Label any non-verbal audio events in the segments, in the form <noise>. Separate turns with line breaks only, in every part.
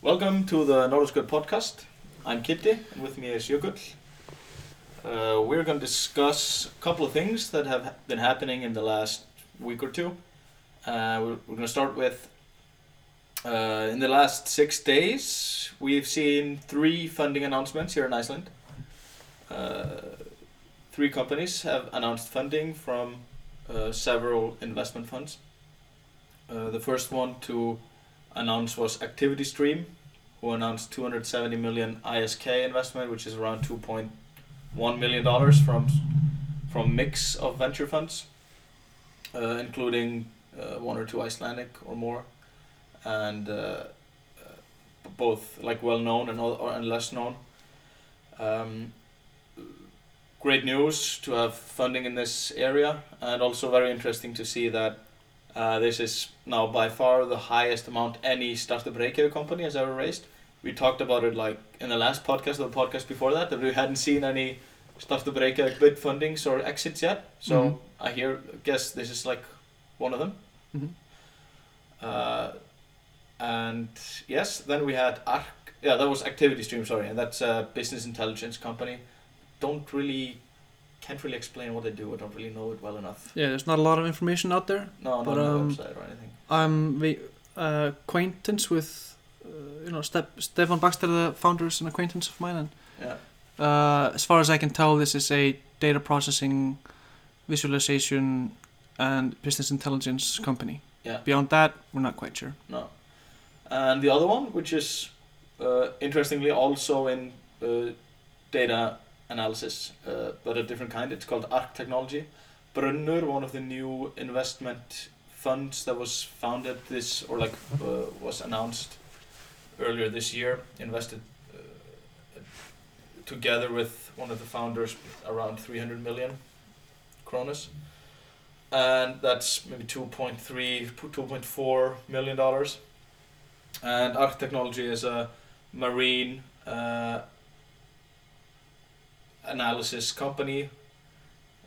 Welcome to the Nordic Good podcast. I'm Kitty, and with me is Jökull. Uh, we're going to discuss a couple of things that have been happening in the last week or two. Uh, we're we're going to start with uh, in the last six days, we've seen three funding announcements here in Iceland. Uh, three companies have announced funding from uh, several investment funds. Uh, the first one to announce was Activity Stream, who announced 270 million ISK investment, which is around 2.1 million dollars from from mix of venture funds, uh, including uh, one or two Icelandic or more, and uh, uh, both like well known and all, or, and less known. Um, great news to have funding in this area, and also very interesting to see that uh, this is now by far the highest amount any startup Reykjavik company has ever raised. We talked about it like in the last podcast or the podcast before that that we hadn't seen any startup Reykjavik bid fundings or exits yet. So
Mhm.
I hear guess this is like one of them. Uh, and yes, then we had ARC. Yeah, that was Activity Stream. Sorry, and that's a business intelligence company. Don't really, can't really explain what they do. I don't really know it well enough.
Yeah, there's not a lot of information out there.
No,
But,
not on
um,
the website or anything.
I'm the uh, acquaintance with, uh, you know, Ste- Stefan Baxter, the founder, is an acquaintance of mine, and
Yeah,
Uh, as far as I can tell, this is a data processing, visualization, and business intelligence company.
Yeah.
Beyond that, we're not quite sure.
no. And the other one, which is uh, interestingly also in uh, data analysis, uh, but a different kind. It's called ARC Technology. Brunner, one of the new investment funds that was founded this or like uh, was announced earlier this year, invested uh, together with one of the founders around 300 million kronas. And that's maybe 2.3, 2.4 million dollars. And Arc Technology is a marine uh, analysis company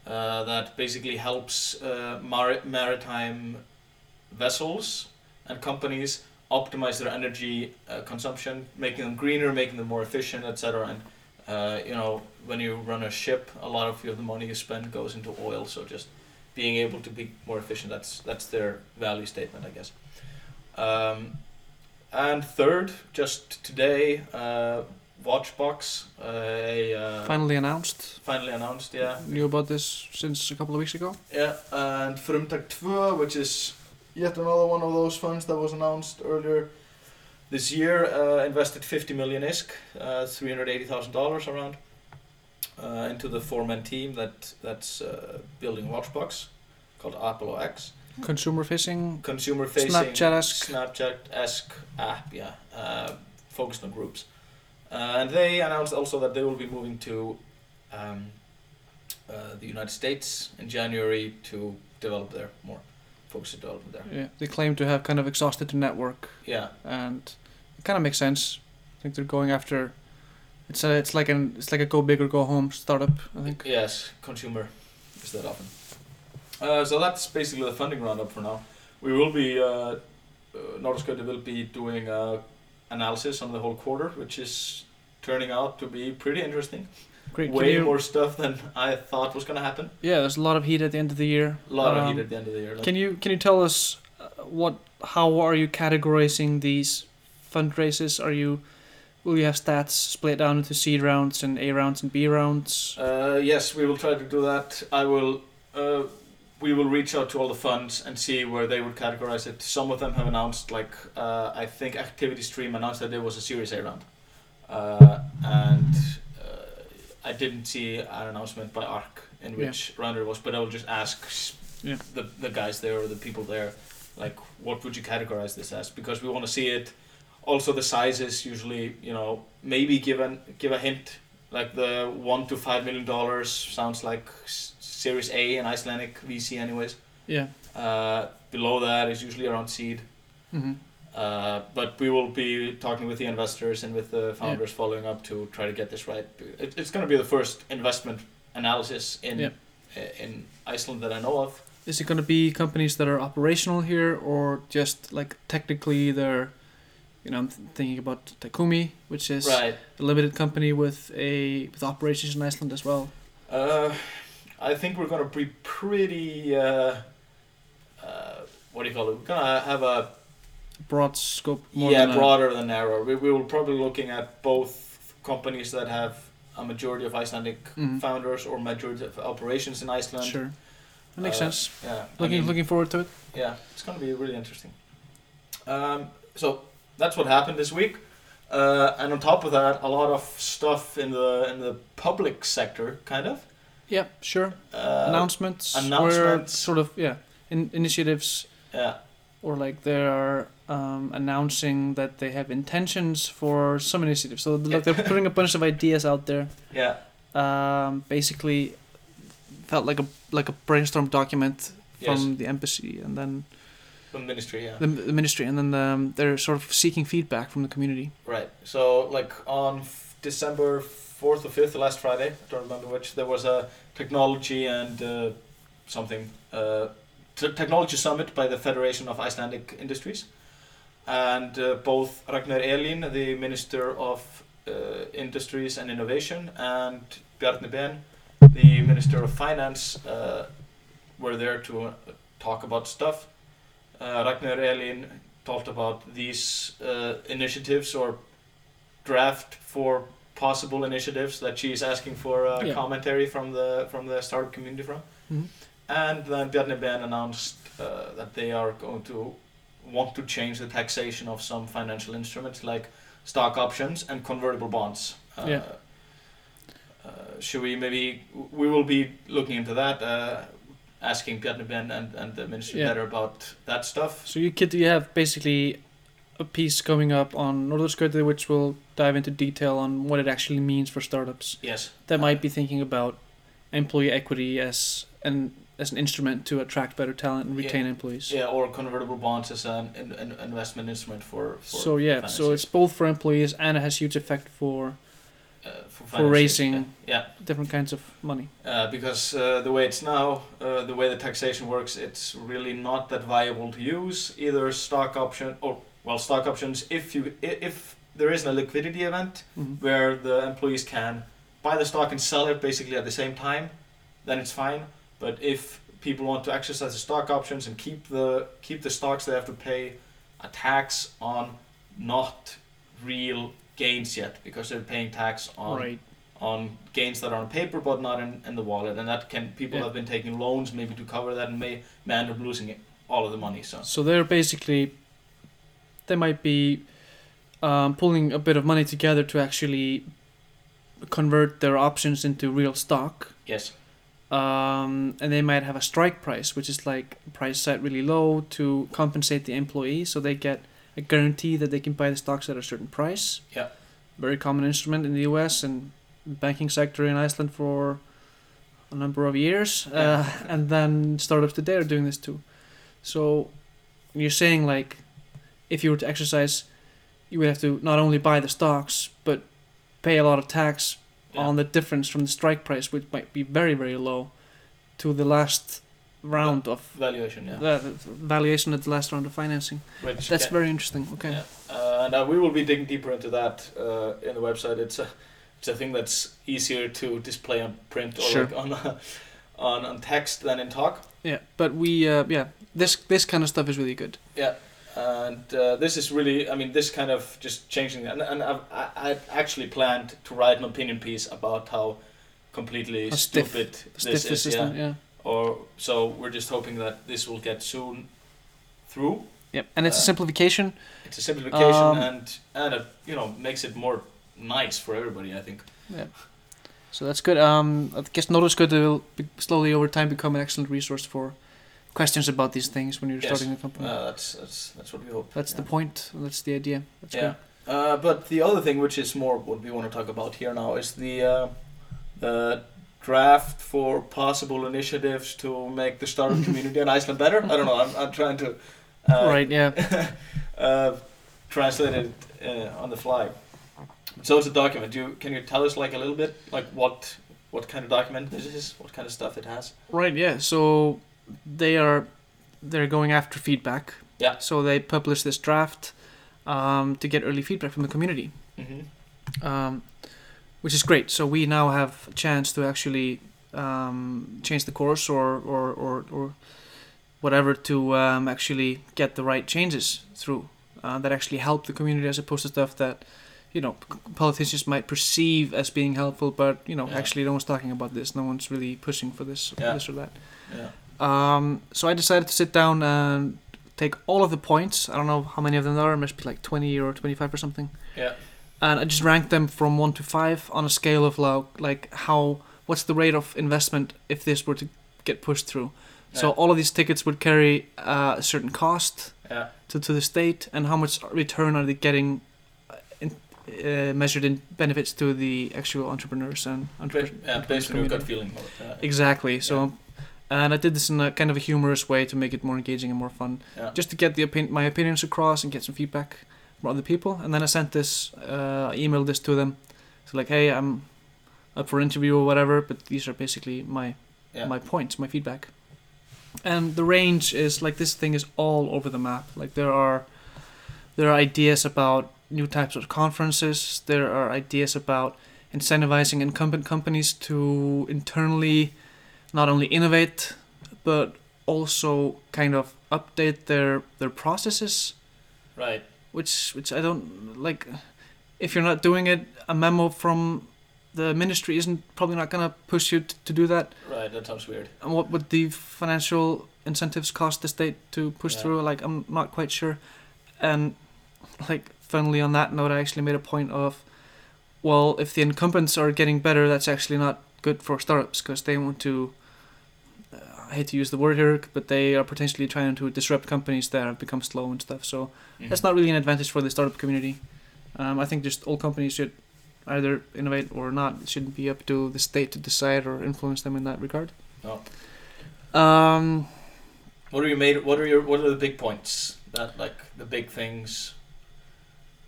uh, that basically helps uh, mar- maritime vessels and companies optimize their energy uh, consumption, making them greener, making them more efficient, etc. And uh, you know, when you run a ship, a lot of the money you spend goes into oil. So just being able to be more efficient that's that's their value statement, I guess. Um, and third, just today, uh, Watchbox, uh, a uh,
Finally announced.
finally announced, yeah.
Knew about this since a couple of weeks ago.
Yeah, and Frumtak 2, which is yet another one of those funds that was announced earlier this year, uh, invested 50 million ISK, uh, $380,000 around, uh, into the four-man team that that's uh, building Watchbox, called Apollo X.
Consumer facing.
Consumer-facing...
Snapchat-esque.
Snapchat-esque app, yeah, uh, focused on groups. Uh, and they announced also that they will be moving to um, uh, the United States in January to develop their more focused development there.
Yeah, they claim to have kind of exhausted the network,
Yeah,
and it kind of makes sense. I think they're going after. It's a, it's like an it's like a go big or go home startup. I think.
yes, consumer is that often. Uh, so that's basically the funding roundup for now. We will be, uh, uh, Nordiskode will be doing uh analysis on the whole quarter, which is turning out to be pretty interesting.
Great. can
Way
you-
more stuff than I thought was going to happen.
Yeah, there's a lot of heat at the end of the year.
A lot of
Um,
heat at the end of the year.
Can you can you tell us uh, what how are you categorizing these fundraisers? Are you will you have stats split down into C rounds and A rounds and B rounds?
Uh, yes, we will try to do that. I will. Uh, we will reach out to all the funds and see where they would categorize it. Some of them have announced, like uh, I think Activity Stream announced that there was a Series A round, uh, and uh, I didn't see an announcement by ARC in
Yeah.
which round it was. But I will just ask s-
Yeah.
the the guys there or the people there, like what would you categorize this as? Because we want to see it. Also, the sizes usually, you know, maybe give an give a hint like the one to five million dollars sounds like s- Series A in Icelandic VC, anyways.
Yeah.
Uh, below that is usually around seed.
Mm-hmm.
Uh, but we will be talking with the investors and with the founders following up to try to get this right. It, it's going to be the first investment analysis in
Yeah.
i- in Iceland that I know of.
Is it going to be companies that are operational here or just like technically they're You know, I'm th- thinking about Takumi, which is
Right.
a limited company with a with operations in Iceland as well.
Uh, I think we're gonna be pretty. Uh, uh, what do you call it? We're gonna have a
Broad scope, more
yeah
than a-
broader than narrow. We we will probably looking at both companies that have a majority of Icelandic
Mhm.
founders or majority of operations in Iceland.
sure. That makes
Uh,
sense.
Yeah. I
Looking
mean-
looking forward to it.
Yeah, it's going to be really interesting. Um, so that's what happened this week, uh, and on top of that, a lot of stuff in the in the public sector, kind of
Yeah, sure.
uh,
announcements. Where
announcements.
sort of yeah, in, initiatives
Yeah,
or like they are um, announcing that they have intentions for some initiatives. So like
<laughs>
they're putting a bunch of ideas out there.
yeah,
Um, basically, felt like a like a brainstorm document
yes,
from the embassy and then
the ministry. Yeah,
the, the ministry and then um, they're sort of seeking feedback from the community.
right. So like on f- December fourth or fifth, last Friday, I don't remember which, there was a technology and uh, something uh, t- technology summit by the Federation of Icelandic Industries. and uh, both Ragnar Elin, the Minister of uh, Industries and Innovation, and Bjarni Ben, the Minister of Finance, uh, were there to uh, talk about stuff. Uh, Ragnar Elin talked about these uh, initiatives or draft for possible initiatives that she is asking for uh,
Yeah.
commentary from the from the startup community from.
Mhm.
And then Bjarni Ben announced uh, that they are going to want to change the taxation of some financial instruments like stock options and convertible bonds. Uh,
Yeah.
Uh, should we maybe we will be looking into that, uh, asking Bjarni Ben and, and the ministry
Yeah.
better about that stuff.
So you kid, you have basically a piece coming up on Norðurskauti, which will dive into detail on what it actually means for startups
Yes.
that might be thinking about employee equity as an as an instrument to attract better talent and
Yeah.
retain employees.
Yeah, or convertible bonds as an, an, an investment instrument for, for
So yeah, so it's both for employees and it has huge effect for
uh, for, financiers.
raising-
Yeah.
different kinds of money.
Uh, because uh, the way it's now, uh, the way the taxation works, it's really not that viable to use either stock option or well stock options if you i- if there isn't a liquidity event
Mhm.
where the employees can buy the stock and sell it basically at the same time, then it's fine. But if people want to exercise the stock options and keep the keep the stocks, they have to pay a tax on not real gains yet because they're paying tax on
Right.
on gains that are on paper but not in, in the wallet and that can people
Yeah.
have been taking loans maybe to cover that and may, may end up losing it, all of the money so
So they're basically they might be um, pulling a bit of money together to actually convert their options into real stock.
yes
Um, and they might have a strike price, which is like a price set really low to compensate the employee, so they get a guarantee that they can buy the stocks at a certain price.
Yeah.
Very common instrument in the U.S. and banking sector in Iceland for a number of years,
Yeah.
uh, <laughs> and then startups today are doing this too. So you're saying like, if you were to exercise, you would have to not only buy the stocks but pay a lot of tax
Yeah.
on the difference from the strike price, which might be very, very low, to the last round of
valuation yeah
the, the valuation at the last round of financing.
which
That's
can-
very interesting. Okay.
Yeah. Uh, and uh, we will be digging deeper into that uh, in the website. It's a it's a thing that's easier to display on print or
Sure.
like on, <laughs> on on text than in talk.
Yeah, but we, uh, yeah, this this kind of stuff is really good.
And uh, this is really, I mean, this kind of just changing. And, and I've, I I actually planned to write an opinion piece about how completely
How stiff-
stupid
Stiff
this
the
is.
system.
Yeah.
Yeah.
Or so we're just hoping that this will get soon through.
Yep. And it's a
Uh,
simplification.
It's a simplification
Um,
and and it, you know makes it more nice for everybody. I think.
So that's good. Um, I guess Norðurskauti will be slowly over time become an excellent resource for questions about these things when you're
Yes.
starting a company.
Uh, that's, that's that's what we hope.
that's
yeah.
the point. That's the idea. That's
yeah.
good.
Uh, but the other thing, which is more what we want to talk about here now, is the uh, the draft for possible initiatives to make the
<laughs>
startup community in Iceland better. I don't know. I'm, I'm trying to uh,
right. Yeah.
<laughs> uh, translate it uh, on the fly. So it's a document. Do you, can you tell us like a little bit like what what kind of document this is? What kind of stuff it has?
Right. Yeah. So they are they're going after feedback.
Yeah.
So they publish this draft, um, to get early feedback from the community,
hmm
um, which is great. So we now have a chance to actually um, change the course or or, or, or whatever to um, actually get the right changes through uh, that actually help the community as opposed to stuff that you know c- politicians might perceive as being helpful, but you know
Yeah.
actually no one's talking about this. No one's really pushing for this,
Yeah.
this or that.
Yeah.
Um, so I decided to sit down and take all of the points. I don't know how many of them there are. It must be like 20 or 25 or something.
Yeah.
And I just ranked them from one to five on a scale of like, like how what's the rate of investment if this were to get pushed through. So
Yeah.
all of these tickets would carry uh, a certain cost
Yeah.
to, to the state, and how much return are they getting uh, in, uh, measured in benefits to the actual entrepreneurs and
Ba-
entrepreneurs.
yeah, based on your gut feeling. About that.
Exactly. So,
Yeah.
um, and I did this in a kind of a humorous way to make it more engaging and more fun,
Yeah.
just to get the opin- my opinions across and get some feedback from other people. And then I sent this, uh, I emailed this to them, so like, hey, I'm up for interview or whatever, but these are basically my
Yeah.
my points, my feedback. And the range is like this thing is all over the map. Like there are there are ideas about new types of conferences. There are ideas about incentivizing incumbent companies to internally not only innovate but also kind of update their their processes
Right.
which which I don't like. If you're not doing it, a memo from the ministry isn't probably not gonna push you t- to do that.
Right. That sounds weird.
And what would the financial incentives cost the state to push
Yeah.
through? Like I'm not quite sure. And like finally on that note, I actually made a point of, well, if the incumbents are getting better, that's actually not good for startups because they want to. Uh, I hate to use the word here, but they are potentially trying to disrupt companies that have become slow and stuff. So that's not really an advantage for the startup community. Um, I think just all companies should either innovate or not. It shouldn't be up to the state to decide or influence them in that regard.
No.
Um,
What are your made? What are your? What are the big points? That like the big things.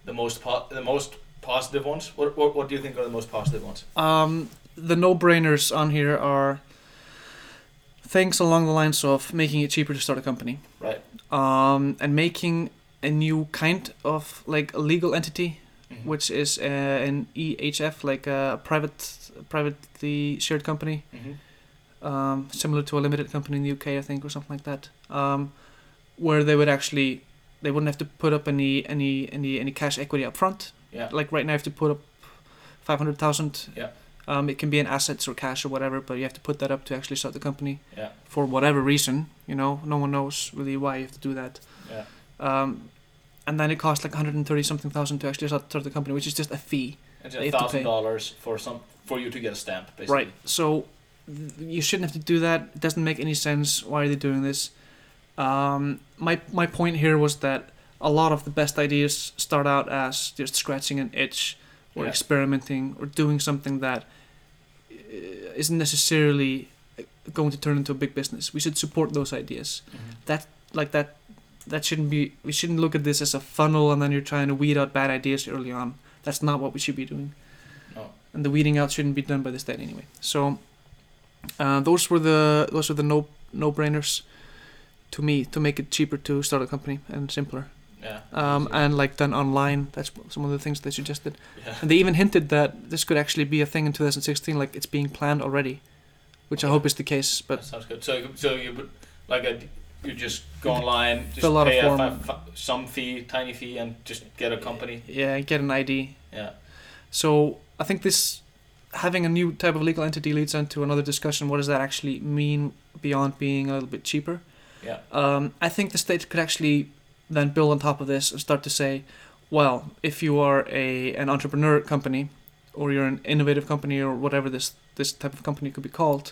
The most po- the most positive ones. What, what what do you think are the most positive ones?
um, the no-brainers on here are things along the lines of making it cheaper to start a company,
Right.
um, and making a new kind of like a legal entity,
Mhm.
which is uh, an EHF, like a private, privately shared company.
Mhm.
um, similar to a limited company in the UK, I think, or something like that, um, where they would actually they wouldn't have to put up any any any any cash equity up front.
Yeah.
Like right now, you have to put up five hundred thousand.
Yeah.
Um, it can be in assets or cash or whatever, but you have to put that up to actually start the company
Yeah.
for whatever reason. You know, no one knows really why you have to do that.
Yeah.
Um, and then it costs like 130 something thousand to actually start, start the company, which is just a fee.
It's
They
a
have to
thousand
pay.
dollars for some for you to get a stamp. Basically.
Right. So th- you shouldn't have to do that. It doesn't make any sense. Why are they doing this? Um, my my point here was that a lot of the best ideas start out as just scratching an itch, or
Yeah.
experimenting, or doing something that uh, isn't necessarily uh, going to turn into a big business. We should support those ideas.
Mhm.
Like that, that shouldn't be. We shouldn't look at this as a funnel, and then you're trying to weed out bad ideas early on. That's not what we should be doing
No.
and the weeding out shouldn't be done by the state anyway. So uh, those were the those were the no no brainers to me to make it cheaper to start a company and simpler.
Yeah.
Um,
easier.
and like done online, that's some of the things they suggested.
yeah.
And they even hinted that this could actually be a thing in 2016, like it's being planned already, which I
Okay.
hope is the case.
that
But
sounds good. So you- so you would like a, you just go online, just
Fill out a
pay
form.
fi- fi- some fee, tiny fee, and just get a company.
yeah, get an ID.
Yeah.
So I think this having a new type of legal entity leads on to another discussion. What does that actually mean beyond being a little bit cheaper?
Yeah.
Um, I think the state could actually then build on top of this and start to say, well, if you are a an entrepreneur company, or you're an innovative company, or whatever this this type of company could be called,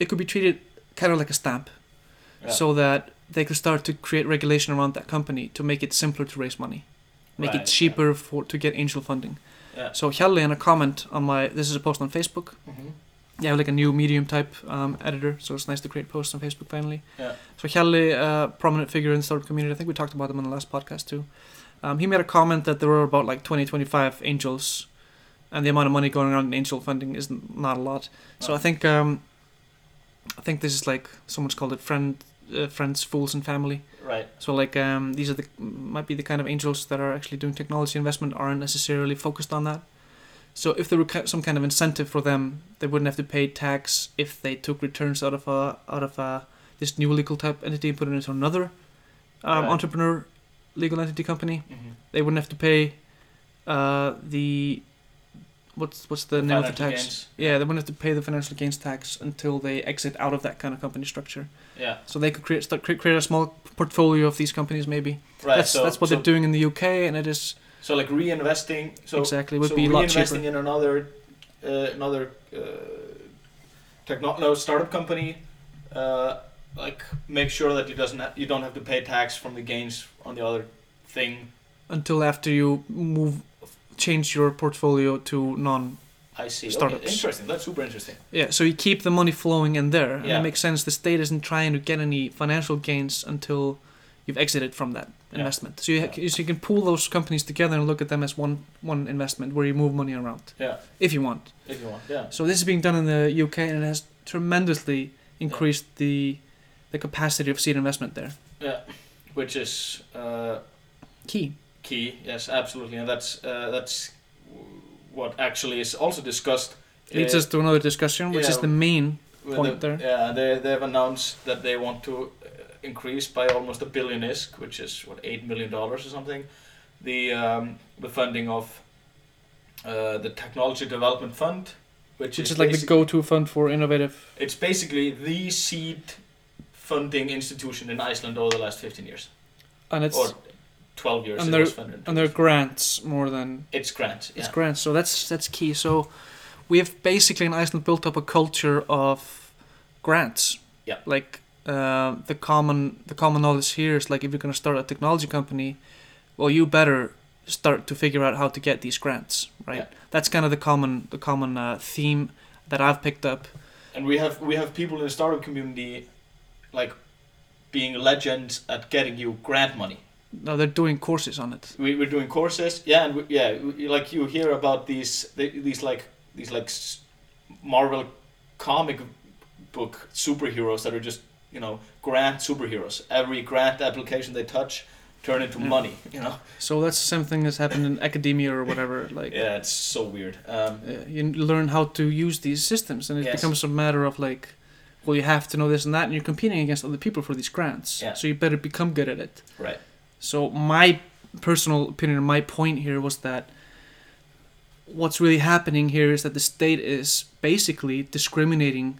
it could be treated kind of like a stamp,
Mm-hmm. Yeah.
Mm-hmm. so that they could start to create regulation around that company to make it simpler to raise money, make
Right, yeah.
it cheaper for to get angel funding.
Yeah.
So Hjalle in a comment on my this is a post on Facebook
Mhm.
yeah, like a new medium type um, editor, so it's nice to create posts on Facebook finally.
Yeah.
So Hjalle, uh, prominent figure in the startup community, I think we talked about him on the last podcast too. Um, he made a comment that there were about like 20, 25 angels, and the amount of money going around in angel funding is n- not a lot. So
Oh.
I think um, I think this is like someone's called it friend uh, friends, fools, and family.
Right.
So like um, these are the might be the kind of angels that are actually doing technology investment aren't necessarily focused on that. So if there were ki- some kind of incentive for them, they wouldn't have to pay tax if they took returns out of a out of a this new legal type entity and put it into another um,
Right.
entrepreneur legal entity company.
Mm-hmm.
They wouldn't have to pay uh, the what's what's the, name of the tax? Yeah, they wouldn't have to pay the financial gains tax until they exit out of that kind of company structure.
Yeah.
So they could create start, cre- create a small portfolio of these companies maybe.
Right.
that's
so
that's what
so,
they're doing in the UK, and it is
So like reinvesting. So
exactly would
so
be a lot
reinvesting
cheaper.
in another uh, another uh, techno no, startup company. Uh, like make sure that you doesn't ha- you don't have to pay tax from the gains on the other thing.
until after you move change your portfolio to non
I see. Okay,
Startups.
interesting. That's super interesting.
yeah so you keep the money flowing in there and
Yeah.
it makes sense the state isn't trying to get any financial gains until you''ve exited from that
Yeah.
investment so you, ha- so you can pull those companies together and look at them as one one investment where you move money around
Yeah.
if you want
If you want. Yeah.
so this is being done in the UK and it has tremendously increased the the capacity of seed investment there
Which is. Uh,
key
key. Yes, absolutely, and that's uh, that's w- what actually is also discussed. uh,
leads us to another discussion which
yeah,
is the main
with
point
the-
there.
Yeah, they they've announced that they want to uh, increase by almost a billion isk, which is what eight million dollars or something, the um, the funding of uh, the technology development fund, which,
which is like the
basic-
go-to fund for innovative
it's basically the seed funding institution in Iceland over the last fifteen years
and it's
or twelve years.
and
it
they're-
was funded.
and they're grants more than
it's grants. Yeah.
it's grants so that's that's key so we have basically in iceland built up a culture of grants
Yeah.
like uh, the common the common knowledge here is like if you're going to start a technology company well you better start to figure out how to get these grants right
Yeah.
that's kind of the common the common uh, theme that i've picked up
and we have we have people in the startup community like being legends at getting you grant money
now they're doing courses on it
we, we're doing courses yeah and we, yeah we, like you hear about these the- these like these like s- marvel comic book superheroes that are just you know grant superheroes every grant application they touch turn into
Yeah.
money you know
so that's something that's happened in academia or whatever like
yeah it's so weird um,
uh, you learn how to use these systems and it
Yes.
becomes a matter of like well you have to know this and that and you're competing against other people for these grants
Yeah.
so you better become good at it
right
so my personal opinion my point here was that what's really happening here is that the state is basically discriminating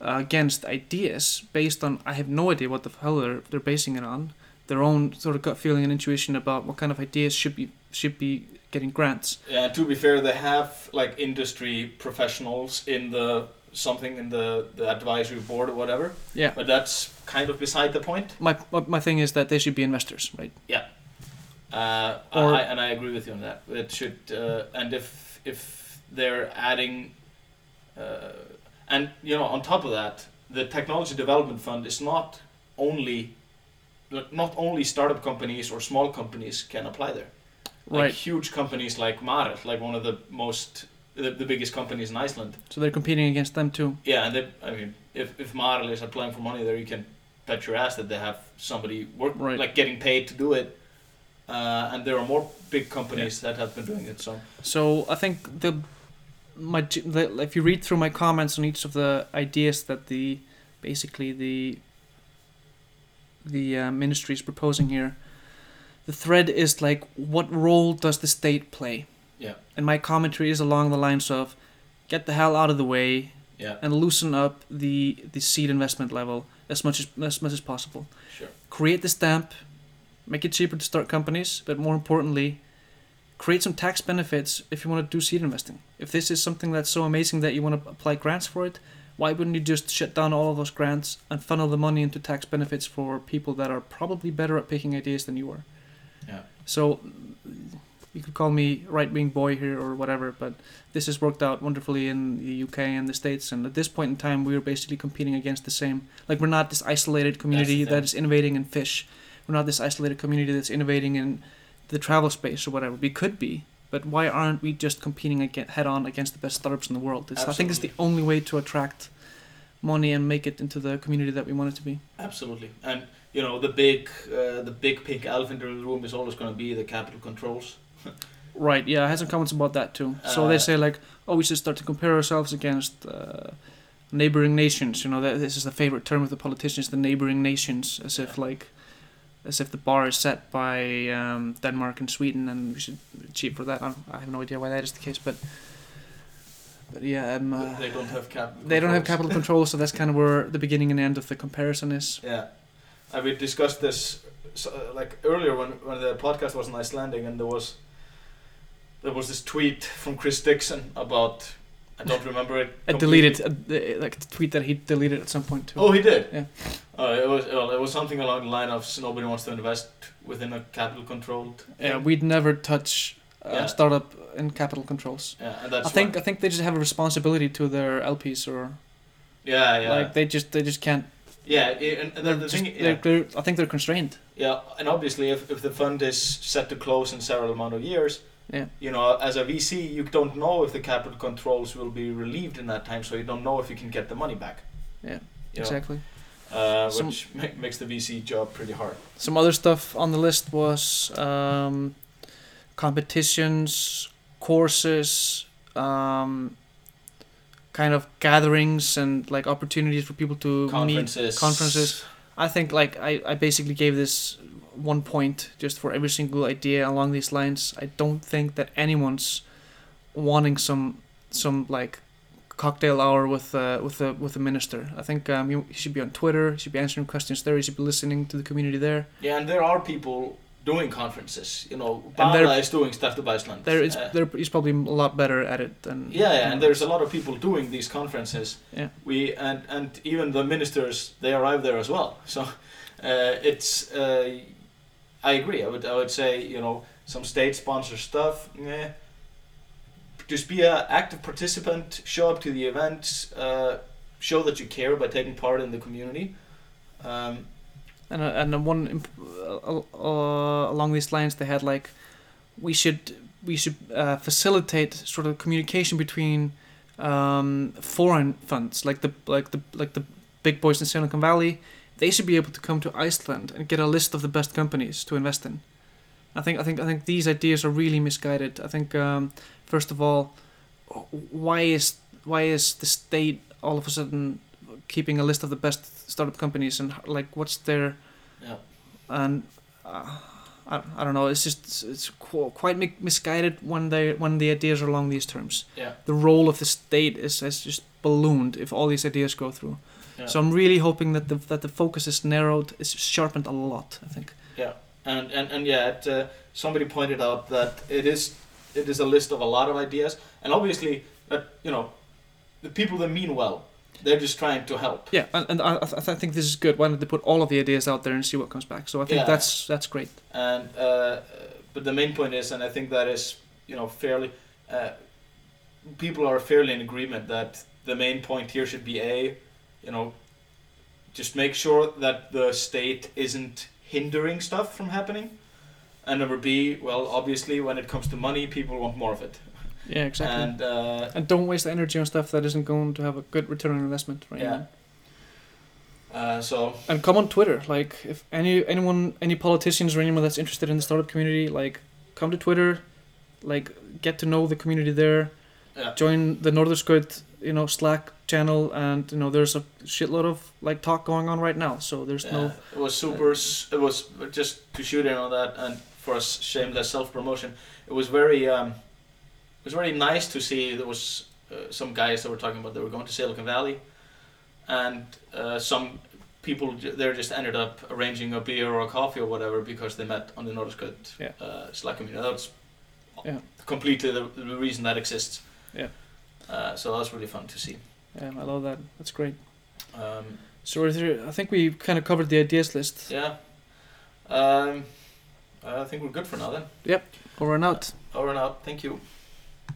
uh, against ideas based on i have no idea what the hell they're, they're basing it on their own sort of gut feeling and intuition about what kind of ideas should be should be getting grants
Yeah, to be fair, they have like industry professionals in the something in the, the advisory board or whatever.
Yeah.
But that's kind of beside the point.
my my- my thing is that they should be investors, right?
Uh,
Or-
I, and I agree with you on that. It should uh, and if if they're adding, uh, and you know, on top of that, the technology development fund is not only like, not only startup companies or small companies can apply there. Like
Right.
huge companies like Marit, like one of the most the, the biggest companies in Iceland.
So they're competing against them too.
Yeah, and they, I mean, if if Marl is applying for money there, you can bet your ass that they have somebody work
Right.
like getting paid to do it. Uh, and there are more big companies that have been doing it. So
So I think the my g- the, if you read through my comments on each of the ideas that the basically the the uh, ministry is proposing here, the thread is like what role does the state play?
Yeah.
And my commentary is along the lines of get the hell out of the way
yeah,
and loosen up the the seed investment level as much as as much as possible.
sure.
create the stamp, make it cheaper to start companies, but more importantly, create some tax benefits if you want to do seed investing. If this is something that's so amazing that you want to apply grants for it, why wouldn't you just shut down all of those grants and funnel the money into tax benefits for people that are probably better at picking ideas than you are?
Yeah.
So you could call me right wing boy here or whatever, but this has worked out wonderfully in the UK and the States. And at this point in time, we are basically competing against the same. Like, we're not this isolated community
thing.
that is innovating in fish. We're not this isolated community that's innovating in the travel space or whatever. We could be, but why aren't we just competing again, head on against the best startups in the world? It's, I think it's the only way to attract money and make it into the community that we want it to be.
Absolutely, and you know the big, uh, the big pink elephant in the room is always going to be the capital controls.
Right. Yeah, I had some comments about that too. so they
Uh,
say like, oh, we should start to compare ourselves against uh, neighboring nations. You know, that this is the favorite term of the politicians, the neighboring nations, as if like, as if the bar is set by um, Denmark and Sweden, and we should cheat for that. I, don't, I have no idea why that is the case, but but yeah, um, uh,
they don't have capital.
they don't have
controls.
capital control, so that's kind of where the beginning and end of the comparison is.
Yeah, and we discussed this so, uh, like earlier when when the podcast was in Icelandic, and there was there was this tweet from Chris Dixon about I
<laughs>
don't remember it.
I deleted uh, like the tweet that he deleted at some point too.
Oh, he did.
Yeah.
Uh, it was well, it was something along the line of s- nobody wants to invest within a capital controlled.
Yeah, we'd never touch uh,
Yeah.
startup and capital controls.
Yeah, and that's
I think
why-
I think they just have a responsibility to their LPs, or
Yeah, yeah,
like they just they just can't.
yeah. i- And, and the,
They're
the
just,
thing,
they're,
yeah,
they're, I think they're constrained.
yeah, and obviously, if, if the fund is set to close in several amount of years,
Yeah.
you know, as a VC, you don't know if the capital controls will be relieved in that time, so you don't know if you can get the money back.
Yeah,
You know,
Exactly.
Uh,
Some-
which <laughs> ma- makes the VC job pretty hard.
Some other stuff on the list was um, competitions, courses, um, kind of gatherings, and like opportunities for people to meet
Conferences,
conferences. I think like I, I basically gave this one point just for every single idea along these lines. I don't think that anyone's wanting some some like cocktail hour with uh, with the with the minister. I think um, you, he should be on Twitter. He should be answering questions there. He should be listening to the community there.
Yeah, and there are people doing conferences. You know,
And
Bala
there-
is doing stuff to Iceland.
There is
Uh,
there he's probably a lot better at it than
yeah, yeah, and there's a lot of people doing these conferences.
Mm-hmm. Yeah.
We and and even the ministers they arrive there as well. So uh, it's uh, I agree. I would I would say you know some state sponsor stuff. Meh. Just be an active participant. Show up to the events. Uh, show that you care by taking part in the community. Um,
And uh, and uh, one imp- uh, uh, along these lines, they had like, we should we should uh, facilitate sort of communication between um, foreign funds, like the like the like the big boys in Silicon Valley. They should be able to come to Iceland and get a list of the best companies to invest in. I think I think I think these ideas are really misguided. I think um, first of all, wh- why is why is the state all of a sudden keeping a list of the best startup companies and h- like what's their
yeah.
and uh, I, I don't know. It's just it's qu- quite mi- misguided when they when the ideas are along these terms.
Yeah.
The role of the state is has just ballooned if all these ideas go through.
Yeah.
So I'm really hoping that the that the focus is narrowed, is sharpened a lot. I think.
and and, and yeah, it, uh, somebody pointed out that it is it is a list of a lot of ideas, and obviously that you know the people that mean well, they're just trying to help.
Yeah, and, and I, I th- I think this is good. Why don't they put all of the ideas out there and see what comes back? So I think
Yeah.
that's that's great.
And uh, uh, but the main point is, and I think that is you know fairly, uh, people are fairly in agreement that the main point here should be a, you know, just make sure that the state isn't hindering stuff from happening. And number B, well, obviously, when it comes to money, people want more of it.
Yeah, exactly. And,
And uh,
don't waste the energy on stuff that isn't going to have a good return on investment right
Yeah.
now.
uh, so
and come on Twitter. Like if any anyone any politicians or anyone that's interested in the startup community, like come to Twitter, like get to know the community there.
Yeah.
Join the Norðurskaut, you know, Slack channel, and you know there's a shitload of like talk going on right now. So there's
yeah,
no
uh,
uh,
it was super. s it was just to shoot in on that and for us shameless self promotion. It was very um, it was very nice to see there was uh, some guys that were talking about they were going to Silicon Valley, and uh, some people j- there just ended up arranging a beer or a coffee or whatever because they met on the Nordiskut
Yeah.
uh, Slack community. That's
Yeah.
completely the, the reason that exists.
Yeah.
Uh, so that was really fun to see.
yeah, I love that. That's great.
Um,
So we're through- I think we kind of covered the ideas list
Yeah. Um, I think we're good for now then.
over and out.
Over and out. Thank you.